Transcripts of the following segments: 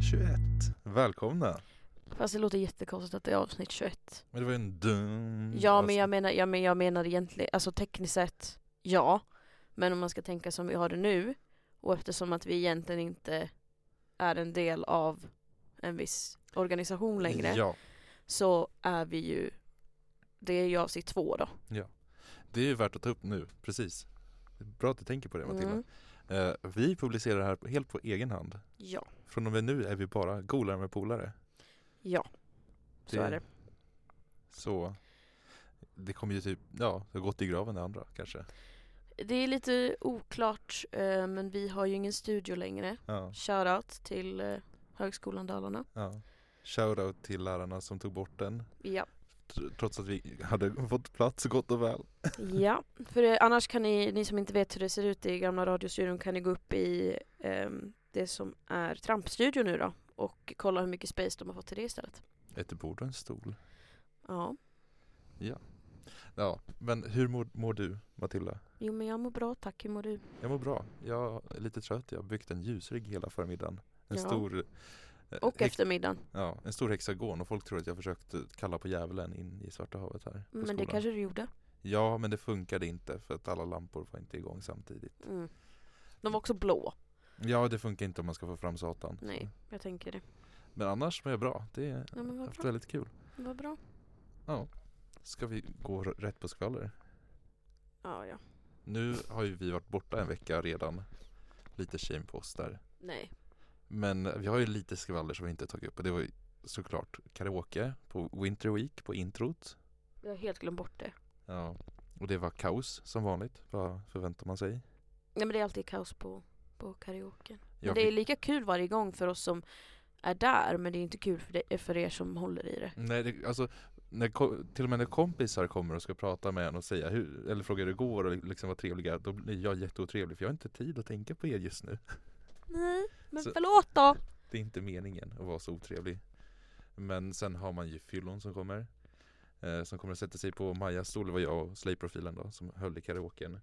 21. Välkomna. Fast det låter jättekonstigt att det är avsnitt 21. Men det var ju en dum... Ja men jag menar, ja, men jag menar egentligen, alltså tekniskt sett, ja. Men om man ska tänka som vi har det nu, och eftersom att vi egentligen inte är en del av en viss organisation längre, Ja, så är vi ju, det är ju avsnitt två då. det är ju värt att ta upp nu, precis. Bra att du tänker på det Matilda. Mm. Eh, vi publicerar det här helt på egen hand. Ja, Från och med nu är vi bara golare med polare. ja, så Det- är det. Så det kommer ju typ, ja, det har gått i graven det andra kanske. Det är lite oklart, eh, men vi har ju ingen studio längre. Ja, Shoutout till eh, Högskolan Dalarna. ja. Shoutout till lärarna som tog bort den. Ja. tr- Trots att vi hade fått plats gott och väl. Ja, för eh, annars kan ni, ni som inte vet hur det ser ut i gamla radiostudion kan ni gå upp i ehm, det som är Trampstudion nu då och kolla hur mycket space de har fått till det istället. Ett bord och en stol. Ja, Ja, men hur mår, mår du Matilda? jo men jag mår bra tack, hur mår du? Jag mår bra. Jag är lite trött. Jag har byggt en ljusrigg hela förmiddagen. En Ja. stor... eh, Och hex- eftermiddagen. Ja, en stor hexagon och folk tror att jag försökt eh, kalla på djävulen in i Svarta havet här på Mm, Men det skolan. kanske du gjorde? Ja, men det funkade inte för att alla lampor var inte igång samtidigt. Mm. De var också blå. Ja, det funkar inte om man ska få fram Satan. Nej, jag tänker det. Men annars mår jag bra. Det är Ja men vad haft bra. väldigt kul. Vad bra. Ja. Ska vi gå r- rätt på skvaller? Ja, ja. Nu har ju vi varit borta en vecka redan. Lite shame på oss där. Nej. Men vi har ju lite skvaller som vi inte tagit upp och det var ju såklart karaoke på Winter Week på introt. Jag har helt glömt bort det. Ja. Och det var kaos som vanligt. Vad förväntar man sig? Nej men det är alltid kaos på, på karaoken. Men Jag det är fick- lika kul varje gång för oss som är där men det är inte kul för, det, för er som håller i det. Nej, det, alltså när, ko- till och med när kompisar kommer och ska prata med en och säga hur, eller fråga hur det går och liksom vara trevliga, då blir jag jätteotrevlig för jag har inte tid att tänka på er just nu. Nej, men Så- förlåt då! Det är inte meningen att vara så otrevlig. Men sen har man ju fyllon som kommer. Eh, som kommer att sätta sig på Majas stol, det var jag och Slay-profilen då, som höll i karaoken.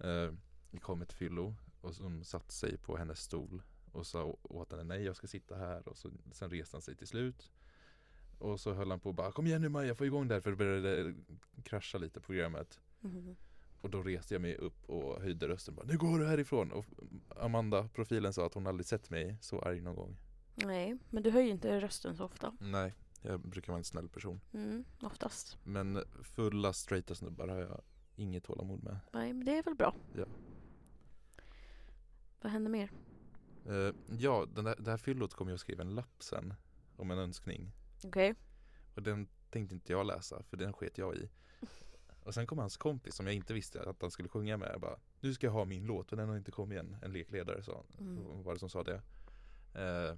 Eh, det kom ett fyllo och som satte sig på hennes stol och sa å- åt henne nej jag ska sitta här och så, sen reste han sig till slut. Och så höll han på och bara kom igen nu Maja få igång det här för det började eh, krascha lite programmet. Och då reste jag mig upp och höjde rösten bara nu går du härifrån. Och Amanda, profilen sa att hon aldrig sett mig så arg någon gång. Nej, men du höjer inte rösten så ofta. Nej, jag brukar vara en snäll person. Mm, oftast. Men fulla straighta snubbar har jag inget tålamod med. Nej, men det är väl bra. Ja. Vad händer mer? Eh, ja, den där, det här fyllot kommer jag skriva en lapp sen om en önskning. Okej. Och den tänkte inte jag läsa, för den sket jag i. Och sen kom hans kompis som jag inte visste att han skulle sjunga med. Jag bara, nu ska jag ha min låt, men den har inte kommit än. En lekledare sa han. Mm. Vad var det som sa det? Eh,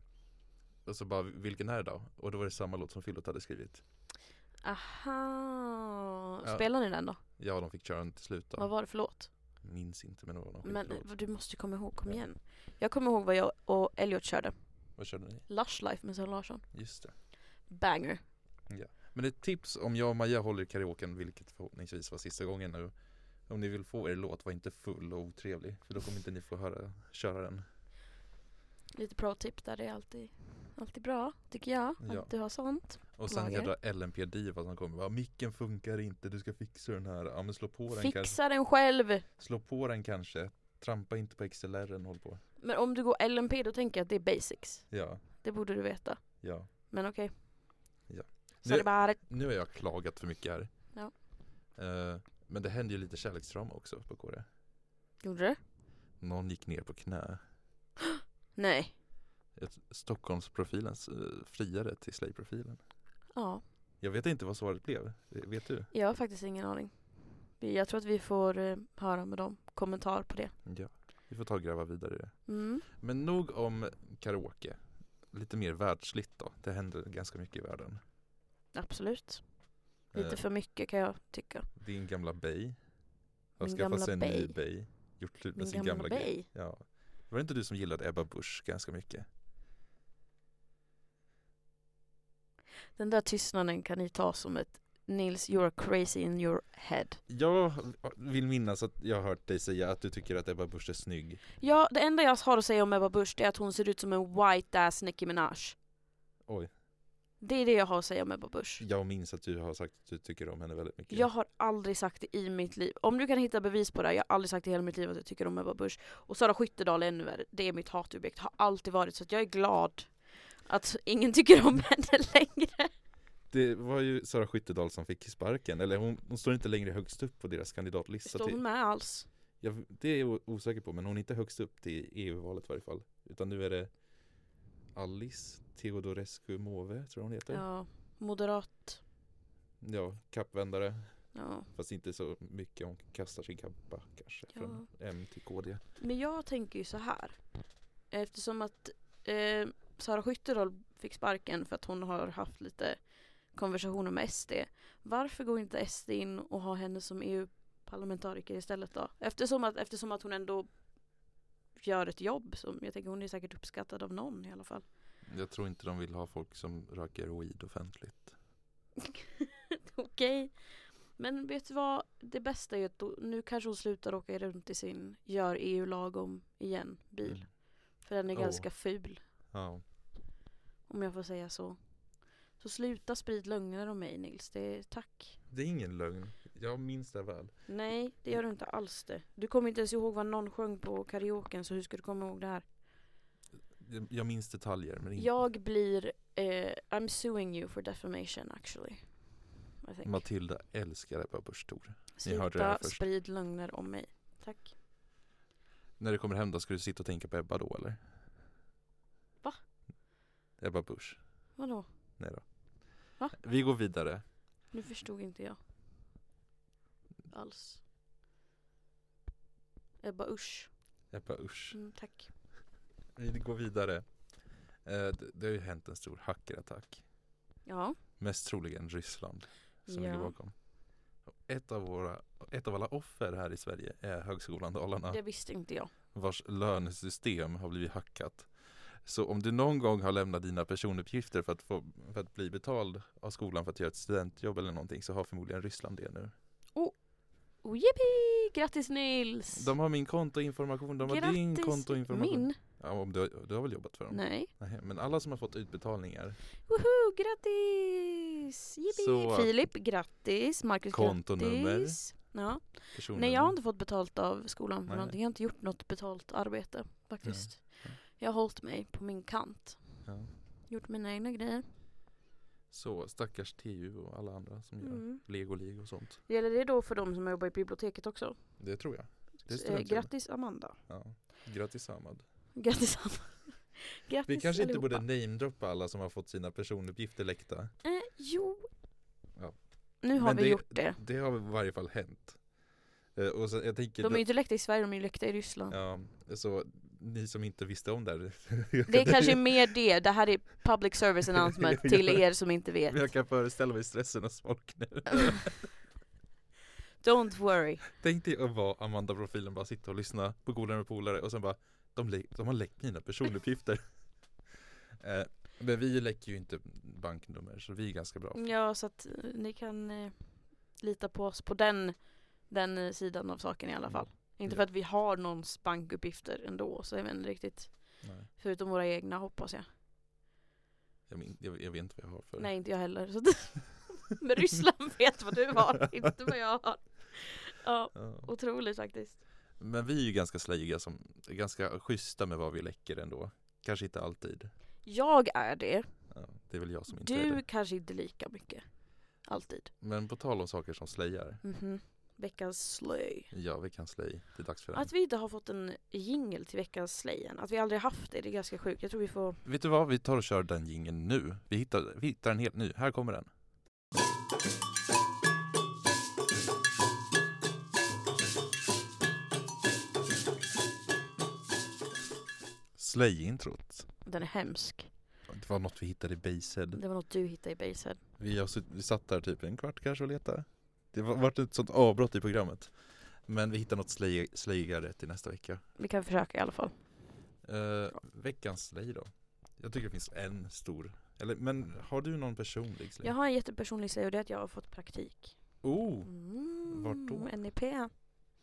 och så bara, vilken är det då? Och då var det samma låt som fyllot hade skrivit. Aha. Ja. Spelar ni den då? Ja, de fick köra den till slut Vad då. var det för låt? Minns inte, men det var någon Men skitlåt. du måste ju komma ihåg, kom Ja. igen. Jag kommer ihåg vad jag och Elliot körde. Vad körde ni? Lush Life med Zara Larsson. Just det. Banger. Men ett tips om jag och Maja håller i karaoken, vilket förhoppningsvis var sista gången nu. Om ni vill få er låt, var inte full och otrevlig. För då kommer inte ni få höra, köra den. Lite pro tip där, det är alltid, alltid bra tycker jag. Ja. Att du har sånt. Och sen Lager. jädra LNP Diva som kommer. Bara, Micken funkar inte, du ska fixa den här. Ja men slå på den kanske. Fixa den själv! Slå på den kanske. Trampa inte på XLR håll på. Men om du går LNP då tänker jag att det är basics. Ja, Det borde du veta. ja. Men okej. Ja. Så är det bara Nu har jag klagat för mycket här. Ja. Eh, men det hände ju lite kärleksdrama också på KD. Gjorde du? Någon gick ner på knä. Nej. Ett- Stockholmsprofilens eh, friare till Slay-profilen. Ja. Jag vet inte vad svaret blev. Eh, Vet du? Jag har faktiskt ingen aning. Vi- Jag tror att vi får eh, höra med dem. Kommentar på det. Ja. Vi får ta och gräva vidare i det. Mm. Men nog om karaoke. Lite mer världsligt då. Det händer ganska mycket i världen. Absolut. Lite Eh, för mycket kan jag tycka. Din gamla bay. Har Min skaffat gamla sig en ny bay. bay. Gjort slut med Min sin gamla, gamla, grej. bay. Ja. Var det inte du som gillade Ebba Busch ganska mycket? Den där tystnaden kan ni ta som ett Nils, you're crazy in your head. Jag vill minnas att jag har hört dig säga att du tycker att Ebba Busch är snygg. Ja, det enda jag har att säga om Ebba Busch det är att hon ser ut som en white ass Nicki Minaj. Oj. Det är det jag har att säga om Ebba Busch. Jag minns att du har sagt att du tycker om henne väldigt mycket. Jag har aldrig sagt det i mitt liv. Om du kan hitta bevis på det, här, jag har aldrig sagt i hela mitt liv att jag tycker om Ebba Busch. Och Sara Skyttedal är ännu värre. Det är mitt hatobjekt, har alltid varit. Så att jag är glad att ingen tycker om henne längre. Det var ju Sara Skyttedal som fick sparken, eller hon, hon står inte längre högst upp på deras kandidatlista. Står till- hon med alls? Jag, det är jag osäker på, men hon är inte högst upp till EU-valet i varje fall. Utan nu är det Alice Teodorescu Måwe, tror jag hon heter. Ja, Ja, moderat. kappvändare. Ja. Fast inte så mycket, hon kastar sin kappa kanske. Ja. Från M till KD. Men jag tänker ju så här. Eftersom att eh, Sara Skyttedal fick sparken för att hon har haft lite konversationer med SD. Varför går inte SD in och har henne som EU-parlamentariker istället då? Eftersom att, eftersom att hon ändå gör ett jobb som jag tänker hon är säkert uppskattad av någon i alla fall. Jag tror inte de vill ha folk som röker weed offentligt. Okej. Men vet du vad? Det bästa är ju att då, nu kanske hon slutar åka runt i sin gör EU lagom igen bil. Mm. För den är Oh. ganska ful. Ja, Om jag får säga så. Så sluta sprid lögner om mig Nils, det är tack. det är ingen lögn. Jag minns det väl. Nej, det gör du inte alls det. Du kommer inte ens ihåg vad någon sjöng på karaoken så hur ska du komma ihåg det här? Jag- Jag minns detaljer, men inte. Jag blir, eh, I'm suing you for defamation actually. I think. Matilda älskar Ebba Busch Thor. ni hörde det här Sluta först. sprid lögner om mig. Tack. När du kommer hem då ska du sitta och tänka på Ebba då eller? Va? Ebba Busch. Vadå? Nej då. Va? Vi går vidare. Nu förstod inte jag. Alls. Ebba usch. Ebba Usch. Mm, tack. Vi går vidare. Eh, det, det har ju hänt en stor hackerattack. Ja. Mest troligen Ryssland som ligger ja. bakom. Och Ett av, våra, ett av alla offer här i Sverige är Högskolan Dalarna. Det visste inte jag. vars lönesystem har blivit hackat. Så om du någon gång har lämnat dina personuppgifter för att, få, för att bli betald av skolan för att göra ett studentjobb eller någonting så har förmodligen Ryssland det nu. Oh, yippee! Grattis Nils! De har min kontoinformation, de har din kontoinformation. min? Ja, om du, du har väl jobbat för dem? Nej. Nej. Men alla som har fått utbetalningar, Woho, grattis! Yippee! Så- Filip, grattis! Marcus, Kontonummer. grattis! Ja. personer. Nej, jag har inte fått betalt av skolan för Nej. någonting. Jag har inte gjort något betalt arbete faktiskt. Nej. Jag har hållit mig på min kant. Ja. Gjort mina egna grejer. Så stackars TU och alla andra som gör Mm. Lego League och sånt. Gäller det då för de som jobbar i biblioteket också? Det tror jag. Det är Eh, studentjobb. grattis Amanda. Ja. Grattis Samad. Grattis Amanda. grattis Vi kanske inte allihopa. borde namedroppa alla som har fått sina personuppgifter läckta. Eh, jo. Ja. Nu har Men vi gjort det. Det har i varje fall hänt. Eh, Och så, jag tänker, De är ju inte läckta i Sverige, de är ju läckta i Ryssland. ja, så ni som inte visste om det här. Det är kanske mer det. Det här är public service announcement till er som inte vet. Jag kan föreställa mig stressen hos folk nu. Don't worry. Tänk dig att vara Amanda-profilen, bara sitta och lyssna på Golare med polare och sen bara de, lä- de har läckt mina personuppgifter. eh, men vi läcker ju inte banknummer så vi är ganska bra. Ja, så att eh, ni kan eh, lita på oss på den, den eh, sidan av saken i alla fall. Inte för Mm. Ja. att vi har någons bankuppgifter ändå, så jag vet inte riktigt. Mm. Nej, Förutom våra egna hoppas jag. jag, min- jag, jag vet inte vad jag har för. Nej, inte jag heller. Så att Men Ryssland vet vad du har, inte vad jag har. Ja, Ja. otroligt faktiskt. Men vi är ju ganska slajiga som, ganska schyssta med vad vi läcker ändå. Kanske inte alltid. Jag är det. Ja, det är väl jag som inte är Du det. kanske inte lika mycket. Alltid. Men på tal om saker som slöjar. Mhm. Veckans slöj. Ja, vi kan slöj. Det är dags för den. Att vi inte har fått en jingel till veckans slöjen, att vi aldrig haft det, det är ganska sjukt. Jag tror vi får... Vet du vad? Vi tar och kör den jingeln nu. Vi hittar, vi hittar en helt ny. Här kommer den. Slay-introt. Den är hemsk. Det var något vi hittade i Basehead. Det var något du hittade i Basehead. Vi, har sutt- vi satt där typ en kvart kanske och letade. Det var varit ett sånt avbrott i programmet. Men vi hittar något slay- slayigare till nästa vecka. Vi kan försöka i alla fall. Eh, veckans slay då. Jag tycker det finns en stor. Eller, men har du någon personlig släng? Jag har en jättepersonlig grej och det är att jag har fått praktik. Oh, Mm, Vart då? NIP.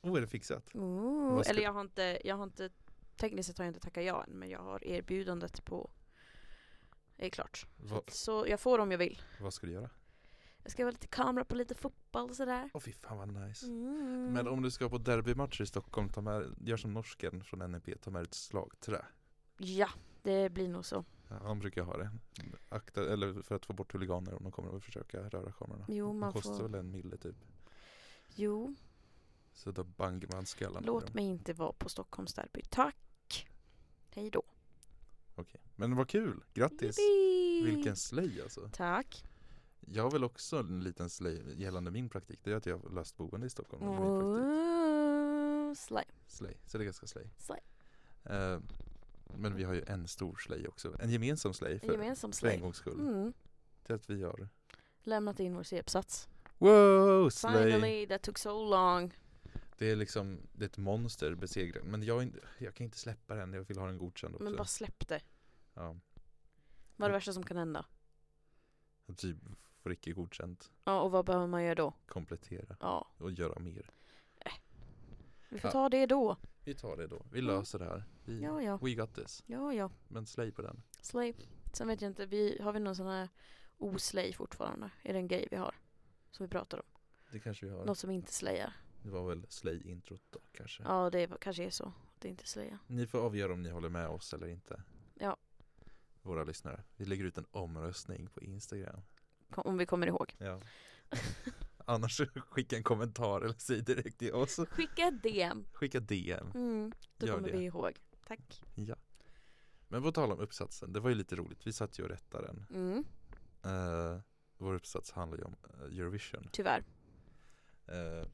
oh, är det fixat? Oh. Vad ska- Eller jag har inte, jag har inte, tekniskt sett har jag inte tackat ja än men jag har erbjudandet på, det är klart. Va, Så jag får om jag vill. vad ska du göra? Jag ska ha lite kamera på lite fotboll och sådär. Åh fy fan vad nice. Mm. Men om du ska på derbymatcher i Stockholm, ta med, gör som norsken från NEP, ta med ett slagträ. Ja, det blir nog så. Ja, han brukar ha det. Akta, eller för att få bort huliganer om de kommer och försöka röra kamerorna. Jo, de man kostar får... väl en mille typ. Jo, Så då bangar man skallarna. i låt dem. mig inte vara på Stockholmsderby. Tack! Hej då. Okej. Men vad kul! Grattis! Yippee! Vilken slöj alltså. Tack. Jag har väl också en liten slöj gällande min praktik. Det är att jag har löst boende i Stockholm. med Min praktik. Ooh, slay. Slöj. Så det är ganska slöj. Slay. Eh, men vi har ju en stor slöj också. En gemensam slöj En för, gemensam för en slay. gångs skull. Mm. Till att vi har Lämnat in vår C-uppsats. Wow! Slöj! Finally, that took so long. Det är liksom, det är ett monster besegrat. Men jag, är inte- jag kan inte släppa den, jag vill ha den godkänd också. Men bara släpp det. Ja, Vad Mm. är det värsta som kan hända? jag typ får icke godkänt. Ja, och vad behöver man göra då? Komplettera Ja, och göra mer. vi får Ja. ta det då. Vi tar det då, vi Mm. löser det här. Vi, Ja, ja. We got this. Ja, ja. Men slay på den. Slay. Sen vet jag inte, vi, har vi någon sån här oslay fortfarande? Är det en grej vi har? Som vi pratar om? Det kanske vi har. Något som inte slayar? Det var väl slay-introt då kanske. Ja, det är, kanske är så. Det är inte slayar. Ni får avgöra om ni håller med oss eller inte. Ja. Våra lyssnare. Vi lägger ut en omröstning på Instagram. Kom- Om vi kommer ihåg. Ja. Annars skicka en kommentar eller säg direkt till oss. Skicka ett DM. Skicka DM. Mm, då Gör kommer det. vi ihåg. Tack. Ja. Men på tal om uppsatsen, det var ju lite roligt. Vi satt ju och rättade den. Mm, Eh, vår uppsats handlar ju om eh, Eurovision. tyvärr. Eh,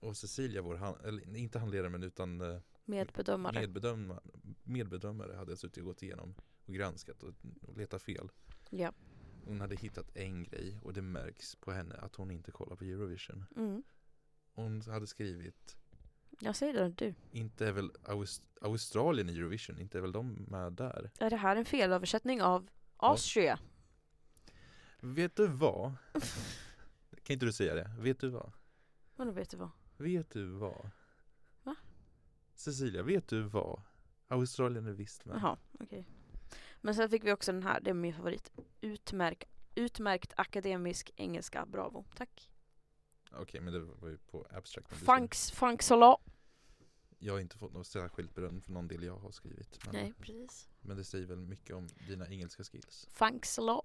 och Cecilia, vår han- eller, inte handledare men utan eh, Medbedömare. medbedöma- medbedömare hade suttit och gått igenom och granskat och, och letat fel. Ja. Hon hade hittat en grej och det märks på henne att hon inte kollar på Eurovision. Mm. Hon hade skrivit Jag säger det, du. inte är väl Aus- Australien i Eurovision, inte är väl de med där? Är det här en felöversättning av Austria? Vet du vad? Kan inte du säga det? Vet du vad? Men då vet du vad. Vet du vad? Va? Cecilia, vet du vad? Australien är visst med. Jaha, okej. Men sen fick vi också den här, det är min favorit. Utmärk, utmärkt akademisk engelska, bravo. Tack. Okej, men det var ju på abstract. men du ska- Funks, funksala. Jag har inte fått något särskilt beröm för någon del jag har skrivit. Men, Nej, precis. men det säger väl mycket om dina engelska skills. Funksala.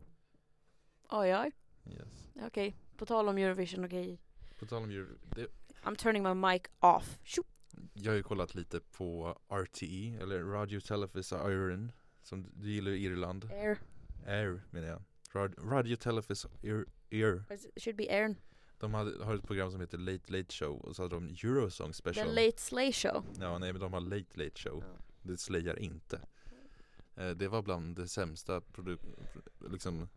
Oj, oj. Yes. Okej, på tal om Eurovision, okej. På tal om Euro- det, I'm turning my mic off. Tjup. Jag har ju kollat lite på RTE, eller Radio Televisa Iron. Som du- du gillar ju Irland. Air. Air menar jag. Rad, Radio Televisa Ir- Air. It should be Airn. De hade, har ett program som heter Late Late Show och så hade de Eurosong The Special. Late Slay Show. Ja, nej men de har Late Late Show. Ja. Det slöjar inte. Eh, det var bland det sämsta produ- pro- liksom,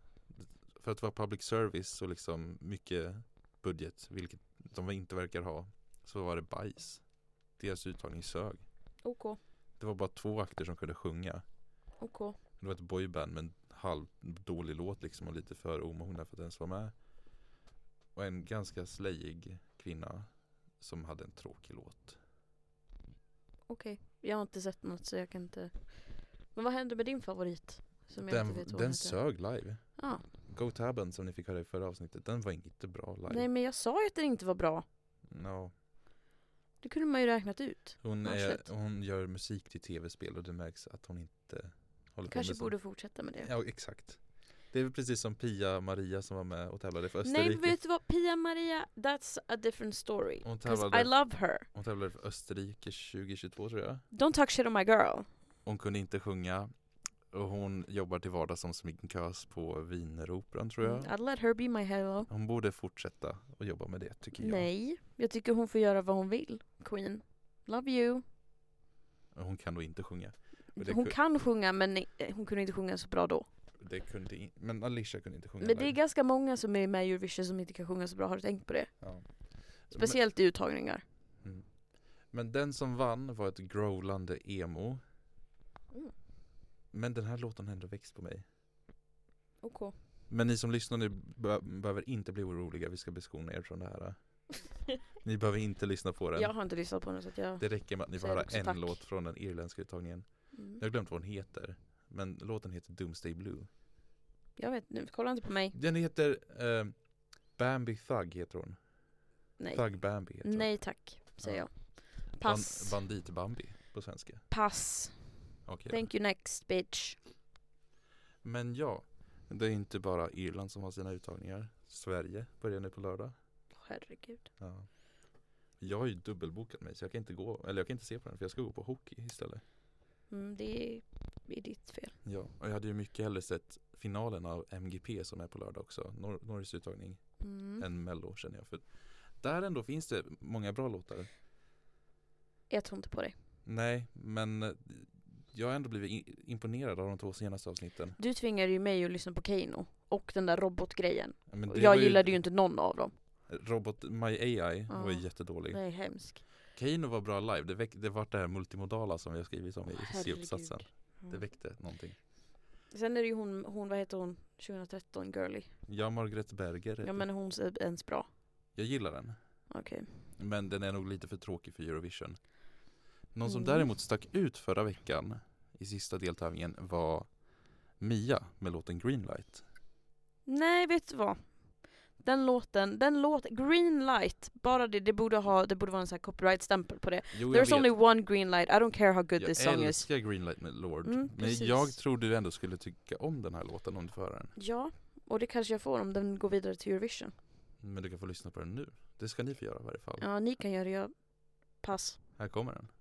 för att vara public service och liksom mycket budget, vilket de inte verkar ha, så var det bajs. Deras uttagning sög. OK, Det var bara två akter som kunde sjunga. OK. Det var ett boyband med en halv dålig låt liksom och lite för omogna för att ens vara med. Och en ganska slejig kvinna som hade en tråkig låt. Jag har inte sett något så jag kan inte... Men vad hände med din favorit? Som jag inte Den, vet vad den hon heter? sög live. Ja. Gotaben som ni fick höra i förra avsnittet, den var inte bra live. Nej men jag sa ju att den inte var bra. Ja. Det kunde man ju räknat ut. Hon, Ja, är, shit. hon gör musik till tv-spel och det märks att hon inte håller på Kanske med sånt. borde fortsätta med det. Ja, exakt. Det är väl precis som Pia Maria som var med och tävlade för Nej Österrike. men vet du vad? Pia Maria, that's a different story. Hon 'Cause I tävlade, love her. hon tävlade för Österrike 2022 tror jag. Don't talk shit on my girl. Hon kunde inte sjunga och hon jobbar till vardags som sminkös på Wieneroperan tror jag. Mm, I'd let her be my hello. Hon borde fortsätta och jobba med det tycker jag. Nej, jag tycker hon får göra vad hon vill. Queen. Love you. Och Hon kan då inte sjunga. Och det Hon kun- kan sjunga men eh, hon kunde inte sjunga så bra då. Det kunde in- men Alicia kunde inte sjunga. Men det är live. ganska många som är med i Eurovision som inte kan sjunga så bra, har du tänkt på det? ja. Speciellt i uttagningar. men, men den som vann var ett growlande emo. Mm. Men den här låten har ändå växt på mig. Okej. Men ni som lyssnar nu be- behöver inte bli oroliga, vi ska beskona er från det här. Ni behöver inte lyssna på den. Jag har inte lyssnat på den så att jag... Det räcker med att ni får Säger höra också en tack. låt från den irländska uttagningen. Mm. Jag har glömt vad hon heter. Men låten heter Doomsday Blue. Jag vet nu, kolla inte på mig. Den heter eh, Bambi Thug heter hon. Nej. Thug Bambi heter Nej tack, säger Ja. jag. hon. Pass. Ban- bandit Bambi på svenska. Pass. Okej. Thank you next bitch. Men ja, det är inte bara Irland som har sina uttagningar. Sverige börjar nu på lördag. Herregud. Ja. Jag har ju dubbelbokat mig så jag kan inte gå, eller jag kan inte se på den för jag ska gå på hockey istället. Mm, det är, det är ditt fel. Ja, och jag hade ju mycket hellre sett finalen av MGP som är på lördag också, Nor- Norges uttagning, Mm. än Mello känner jag. För där ändå finns det många bra låtar. Jag tror inte på dig. Nej, men eh, jag har ändå blivit i- imponerad av de två senaste avsnitten. Du tvingade ju mig att lyssna på Keino och den där robotgrejen. Men Och det Jag var gillade ju inte någon av dem. Robot My AI var Ja. ju jättedålig. Det är hemskt. Keino var bra live, det, väck, det var det här multimodala som vi har skrivit om i Herregud. C-uppsatsen. Det Mm. väckte någonting. Sen är det ju hon, hon vad heter hon, 2013 girly. Ja, Margret Berger heter Ja men hon är ens bra. Jag gillar den. Okej. Men den är nog lite för tråkig för Eurovision. Någon som Mm. däremot stack ut förra veckan i sista deltävlingen var Mia med låten Greenlight. Nej vet du vad? Den låten, den låt, green light, bara det, det borde ha, det borde vara en sån här copyright stämpel på det. Jo, There's only one green light, I don't care how good jag this song is. älskar Greenlight med Lord. Mm, men precis. jag tror du ändå skulle tycka om den här låten om du får höra den. Ja, och det kanske jag får om den går vidare till Eurovision. Men du kan få lyssna på den nu. Det ska ni få göra i varje fall. Ja, ni kan göra det, jag... Pass. Här kommer den.